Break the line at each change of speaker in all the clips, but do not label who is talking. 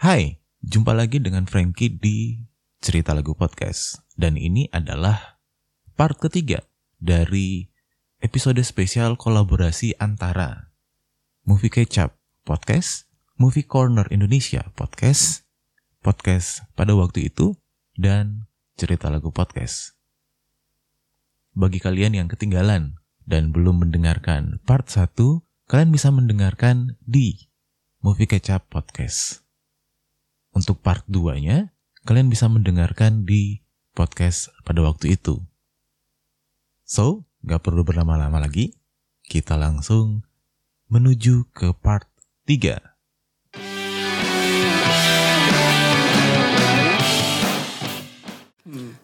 Hai, jumpa lagi dengan Frankie di Cerita Lagu Podcast. Dan ini adalah part ketiga dari episode spesial kolaborasi antara Movie Kecap Podcast, Movie Corner Indonesia Podcast, Podcast pada waktu itu, dan Cerita Lagu Podcast. Bagi kalian yang ketinggalan dan belum mendengarkan part 1, kalian bisa mendengarkan di Movie Kecap Podcast. Untuk part 2-nya, kalian bisa mendengarkan di podcast pada waktu itu. So, gak perlu berlama-lama lagi, kita langsung menuju ke part 3.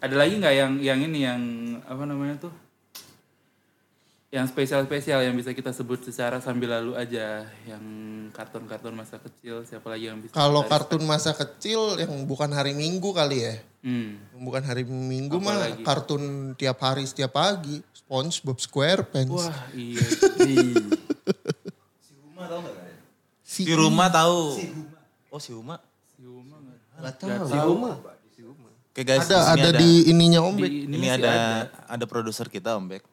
Ada lagi nggak yang yang ini yang apa namanya tuh? Yang spesial-spesial yang bisa kita sebut secara sambil lalu aja, yang kartun-kartun masa kecil, siapa lagi yang bisa?
Kalau
kita-
kartun masa kecil yang bukan hari Minggu kali ya.
Hmm.
Yang bukan hari Minggu
Apa
mah
lagi?
kartun tiap hari setiap pagi. SpongeBob SquarePants.
Wah iya. Ih.
Si,
Si rumah tahu. Oh si Huma.
Si Uma nggak-
Nggak
Nggak
tahu.
tahu.
Oke guys,
Ada
sini
ada di ininya Om Bek.
Di-
ini
masih
ada ada produser kita Om Bek.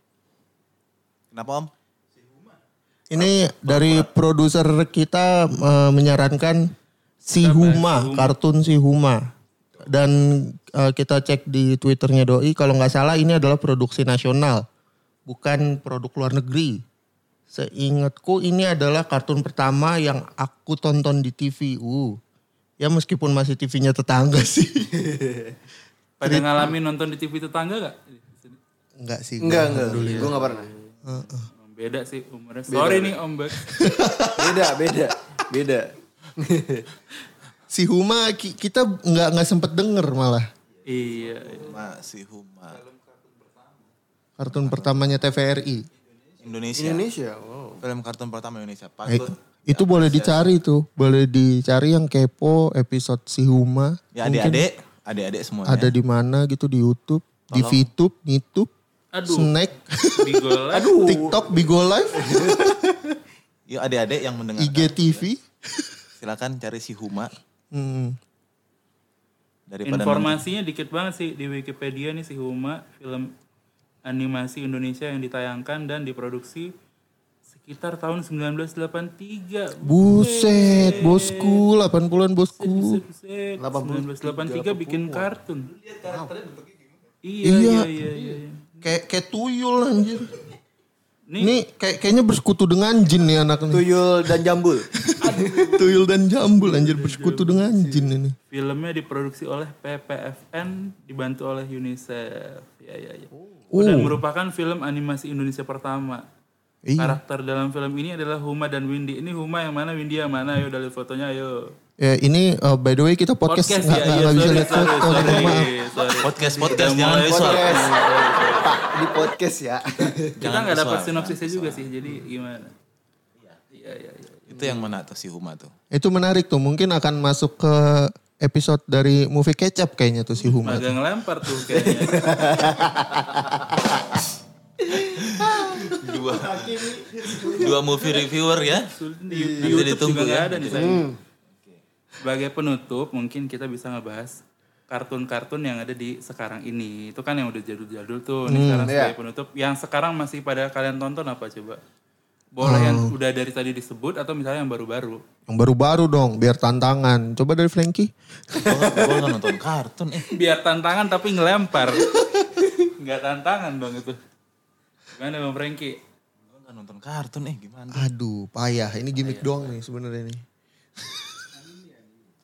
Kenapa Om?
Ini dari produser kita eh, menyarankan Si Huma, kartun Si Huma. Dan eh, kita cek di Twitternya Doi, kalau nggak salah ini adalah produksi nasional, bukan produk luar negeri. Seingatku ini adalah kartun pertama yang aku tonton di TV. Uh, ya meskipun masih TV-nya tetangga sih.
Pada ngalamin nonton di TV tetangga gak?
Enggak sih.
Enggak, enggak.
ya.
Gue gak pernah.
Beda sih umurnya. Sorry nih Om Bek.
Beda, beda. Beda.
Si Huma ki- kita nggak nggak sempet denger malah.
iya. iya.
Ma, si Huma.
Kartun pertamanya TVRI.
Indonesia.
Indonesia, wow.
Film kartun pertama Indonesia. Pak
Eh, itu
Iya.
boleh dicari tuh, boleh dicari yang kepo episode si Huma.
Ya adik-adik, adik-adik semuanya.
ya?
Ada di mana gitu di YouTube, di VTube, YouTube,
Aduh.
Snack,
Bigol. Aduh.
TikTok, Bigo Live,
Yuk adik-adik yang mendengar.
IGTV.
Silakan cari si Huma
Hmm.
daripada
Informasinya dikit banget sih di Wikipedia nih si Huma film animasi Indonesia yang ditayangkan dan diproduksi sekitar tahun 1983.
Buset, bosku, 80-an bosku.
Buset, 1983 bikin kartun. Iya, iya,
Iya.
iya, iya. iya.
Kayak kayak tuyul anjir.
Nih,
Nih kayak kayaknya bersekutu dengan jin nih anak nih.
Tuyul dan jambul.
Tuyul dan jambul anjir bersekutu dengan jin ini.
filmnya diproduksi oleh PPFN dibantu oleh UNICEF. Ya, ya, ya.
Oh.
Dan merupakan film animasi Indonesia pertama.
Iya.
Karakter dalam film ini adalah Huma dan Windy. Ini Huma yang mana, Windy yang mana? Ayo dari fotonya, ayo.
Ya ini uh, by the way kita podcast
Podcast
nggak
ya,
nggak-
iya,
nggak bisa
sorry,
lihat
sorry,
foto.
sorry,
mohon maaf.
sorry.
podcast
Udah
podcast jangan
mulai
visual.
podcast.
Pak, di podcast ya.
Kita nggak dapat sinopsisnya juga sih, jadi gimana? Iya, iya, iya.
Itu yang mana tuh si Huma tuh?
Itu menarik tuh. Mungkin akan masuk ke episode dari movie kecap kayaknya tuh si Huma.
Agak ngelempar tuh kayaknya.
Dua dua movie reviewer ya.
Sulit di, di YouTube juga
ya.
nggak ada nih saya.
Hmm.
Sebagai penutup mungkin kita bisa ngebahas kartun-kartun yang ada di sekarang ini. Itu kan yang udah jadul-jadul tuh. Nih
Hmm,
sekarang
iya.
sebagai penutup, yang sekarang masih pada kalian tonton apa coba? Boleh yang
Hmm.
udah dari tadi disebut atau misalnya yang baru-baru?
Yang baru-baru dong, biar tantangan. Coba dari Frankie.
Gua gua nggak nonton kartun eh.
Biar tantangan tapi ngelempar. Nggak tantangan dong itu. Gimana Bang Frankie?
Gua nggak nonton kartun eh gimana?
Aduh, payah. Ini gimmick doang nih sebenarnya nih.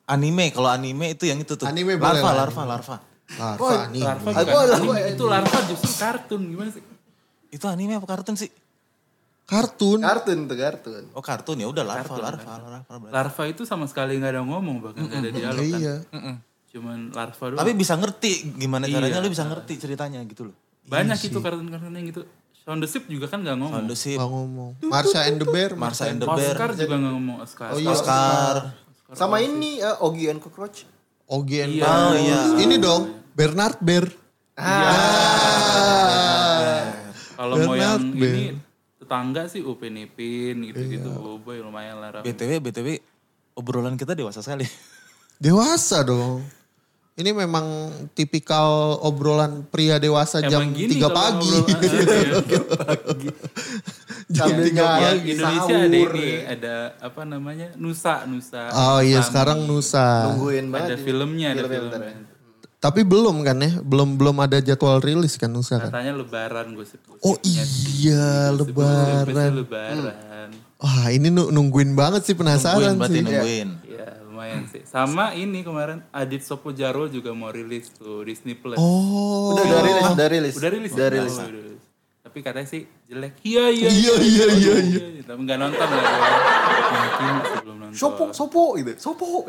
Anime, kalau anime itu yang itu tuh.
Anime boleh
larva,
lah.
larva, larva.
Larva nih.
Larva
Aku
bukan
larva
anime. itu larva justru kartun gimana sih?
Itu anime apa kartun sih?
Kartun.
Kartun tuh kartun.
Oh kartun ya udah larva, larva, larva. berarti.
Larva itu sama sekali nggak ada ngomong bahkan nggak ada dialog kan.
Iya.
Cuman larva doang.
Tapi bisa ngerti gimana caranya lu bisa ngerti ceritanya gitu loh.
Iya
banyak itu kartun-kartun yang gitu Sound the Ship juga kan nggak ngomong
Kondusif,
Nggak ngomong. Marsha and the Bear.
Marsha and the Bear,
Oscar juga nggak ngomong Oscar
Oh iya.
Oscar.
Sama ini eh, Ogi and Cockroach.
Ogi and
Iya.
Bear. Ini dong, Bernard Bear.
kalau mau yang
Bernard Bear. Iya.
ini tetangga sih Upin Ipin gitu-gitu boboy lumayan lah Ram.
BTW, BTW obrolan kita dewasa sekali.
Dewasa dong. Ini memang tipikal obrolan pria dewasa jam 3
Ya, kalau
pagi.
ngobrol- Ah, iya.
Jam 3
Sambil nyawa.
Ya,
pagi.
Lagi
Indonesia
sahur,
ada ini,
ya.
ada apa namanya? Nusa, Nusa.
Oh iya
Sami.
sekarang Nusa.
Nungguin banget.
Ada
ini.
filmnya, ada
Film-film
filmnya.
iya,
ntar
Tapi belum kan ya? Belum belum ada jadwal rilis kan Nusa kan?
Katanya lebaran gosip.
Oh iya lebaran.
lebaran.
Wah ini nu- nungguin banget sih
Nungguin
penasaran
berarti
sih.
nungguin.
Ya lumayan sih. Sama ini kemarin Adit Sopo Jaro juga mau rilis tuh Disney Plus.
Oh.
Udah, udah rilis, udah rilis.
Udah rilis.
Udah
Oh,
rilis.
udah rilis. Tapi katanya sih jelek. Iya iya.
Iya iya iya. iya.
Tapi nggak nonton lah. gua. Mungkin sebelum nonton.
Sopo, sopo gitu. Sopo.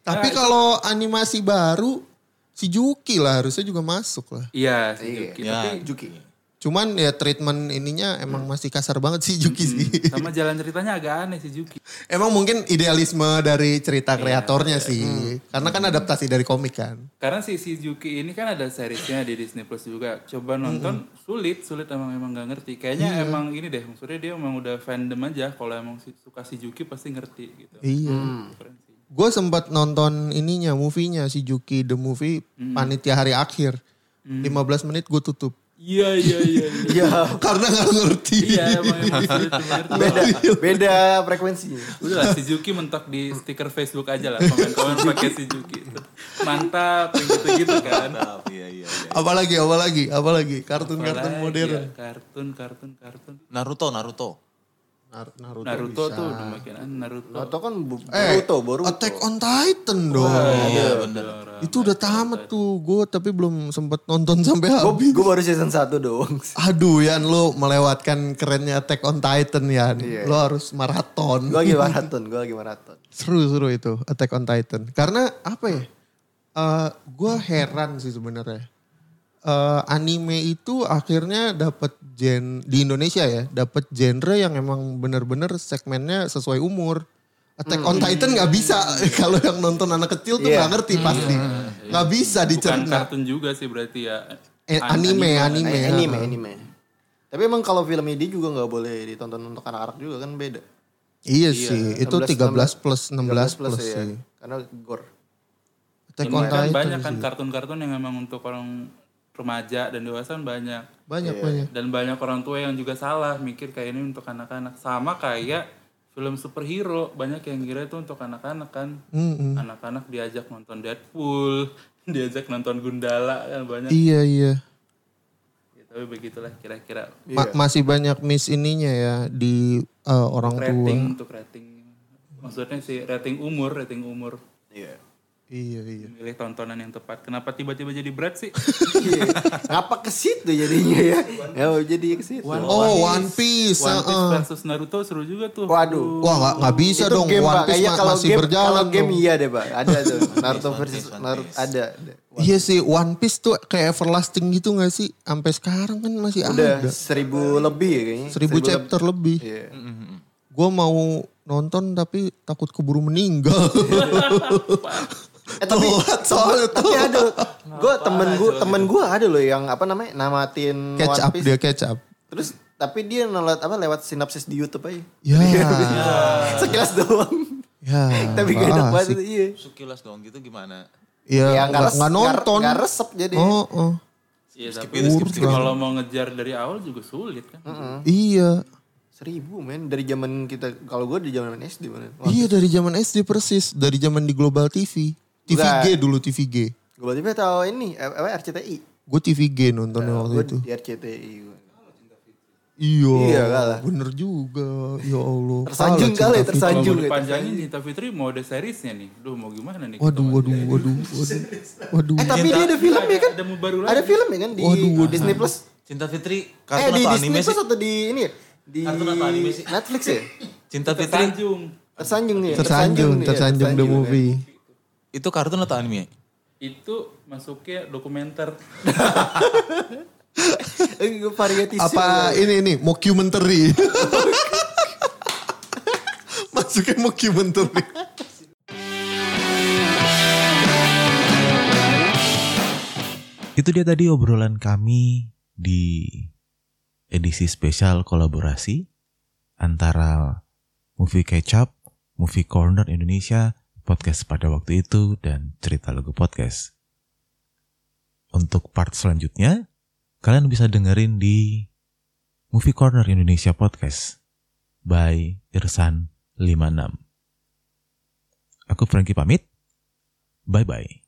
Tapi kalau animasi baru si Juki lah harusnya juga masuk lah.
Iya. sih, Juki. Tapi
Ya,
Juki.
Cuman ya treatment ininya emang masih kasar banget sih Juki sih.
sama jalan ceritanya agak aneh sih Juki.
Emang mungkin idealisme dari cerita kreatornya sih. Karena kan adaptasi dari komik kan.
Karena si si Juki ini kan ada seriesnya di Disney Plus juga. Coba nonton sulit, sulit emang emang nggak ngerti. Kayaknya emang ini deh maksudnya dia emang udah fandom aja. Kalau emang si- suka si Juki pasti ngerti gitu.
Iya.
Keren sih.
Gue sempat nonton ininya, movie-nya si Juki the movie panitia hari akhir. Hmm. 15 menit gue tutup.
Iya iya iya. iya.
Ya,
Karena gak ngerti.
Iya emang emang sulit mengerti.
beda, beda frekuensinya.
Udah lah si Juki mentok di stiker Facebook aja lah. Komen-komen pakai si Juki. Mantap gitu-gitu kan.
Mantap, iya, iya, iya.
Apalagi, apalagi, apalagi. Kartun-kartun
Apalagi
modern.
ya, Kartun, kartun, kartun.
Naruto, Naruto.
Nar- Naruto.
Naruto tuh udah makin aneh, Naruto.
Atau kan Bu-
Eh,
Boruto, Boruto.
Attack on Titan dong.
Iya, bener.
Itu udah tamat tuh gue tapi belum sempet nonton sampai habis.
Gue baru season 1 doang.
Aduh Yan lo melewatkan kerennya Attack on Titan Yan. Lo harus maraton.
Gue lagi maraton, gue lagi maraton.
Seru-seru itu Attack on Titan. Karena apa ya? gue heran sih sebenarnya. Eh, anime itu akhirnya dapat gen di Indonesia ya, dapat genre yang emang bener-bener segmennya sesuai umur. Attack on Titan nggak bisa kalau yang nonton anak kecil tuh nggak ngerti pasti, nggak bisa
Bukan
dicerna.
kartun juga sih berarti ya.
Eh, anime, anime,
Eh, anime, anime. Tapi emang kalau filmnya dia juga nggak boleh ditonton untuk anak-anak juga kan beda.
Iya, sih, itu 13 plus 16 plus,
13 plus ya.
sih.
Karena gore.
Attack on
Cuman kan
Titan
banyak kan
sih.
kartun-kartun yang emang untuk orang remaja dan dewasa kan banyak.
Banyak banyak.
Dan banyak orang tua yang juga salah mikir kayak ini untuk anak-anak. Sama kayak film superhero, banyak yang kira itu untuk anak-anak kan. Anak-anak diajak nonton Deadpool, diajak nonton Gundala kan banyak.
Iya iya.
Ya, tapi begitulah kira-kira
Iya.
Ma- masih banyak miss ininya ya di eh, orang tua.
rating untuk rating. Maksudnya sih rating umur, rating umur.
Iya.
Iya iya.
Milih tontonan yang tepat. Kenapa tiba-tiba jadi berat sih?
Iya. Ngapa ke situ jadinya ya? Ya jadi ke situ.
Oh One Piece.
One
ah,
Piece versus Naruto seru juga tuh.
ah.
Waduh.
Wah nggak nggak bisa
Itu
dong One
game, Pak.
Piece
Kayaknya
ma-
kalau
masih
game,
berjalan.
Kalau game
dong.
iya deh, Pak. Ada tuh. Naruto versus Naruto ada. ada.
Iya sih One Piece tuh kayak everlasting gitu nggak sih? Sampai sekarang kan masih
Udah
ada.
seribu lebih ya kayaknya.
Seribu
leb-
chapter lebih.
Iya.
Gue mau nonton tapi takut keburu meninggal.
Iya, Eh, tapi
Telat soalnya tuh.
tapi ada gue temen gue temen gue ada loh yang apa namanya namatin
Catch
One
up
Piece.
dia catch up.
Terus tapi dia lewat apa lewat sinopsis di YouTube aja.
Ya.
Sekilas doang.
Ya.
Iya. tapi gak enak
asik.
banget iya.
Sekilas dong gitu gimana?
Iya,
Ya, nggak
nggak
res-
nggak
nggak-
nonton.
nggak resep jadi.
Oh, oh.
Iya, tapi kalau mau ngejar dari awal juga sulit kan.
Iya.
Seribu men dari zaman kita kalau gue di zaman SD mana?
Iya dari zaman SD persis, dari zaman di Global TV. TVG dulu TVG.
Gue berarti tahu ini eh, apa RCTI.
Gue TVG nontonnya waktu
Gue
itu.
Nah, di RCTI. gua.
Iya.
Iya, kalah.
Bener juga. Ya Allah.
Tersanjung
Kalah, cinta Fitri.
kali
Kalau
tersanjung.
mau
gitu.
dipanjangin Cinta Fitri mau ada seriesnya nih. Duh mau gimana nih?
Waduh, waduh, waduh, waduh, waduh.
Eh tapi dia ada film ya kan?
Ada mau baru lagi.
Ada film ya kan di Disney Plus?
Cinta Fitri
Eh
kartun
di
atau
Disney
anime sih?
Plus atau di ini ya? Di
Kartun atau anime sih?
Netflix ya?
Cinta Fitri
Tanjung.
Tersanjung ya?
Tersanjung,
nih ya,
tersanjung the
ya.
movie.
itu kartun atau anime?
Itu masuknya dokumenter.
Eh, gua variety show.
Apa ini ini mockumentary? Masuknya mockumentary.
Itu dia tadi obrolan kami di edisi spesial kolaborasi antara Movie Catch Up, Movie Corner Indonesia, podcast pada waktu itu dan cerita lagu podcast. Untuk part selanjutnya, kalian bisa dengerin di Movie Corner Indonesia Podcast by Irsan 56. Aku Frankie pamit. Bye-bye.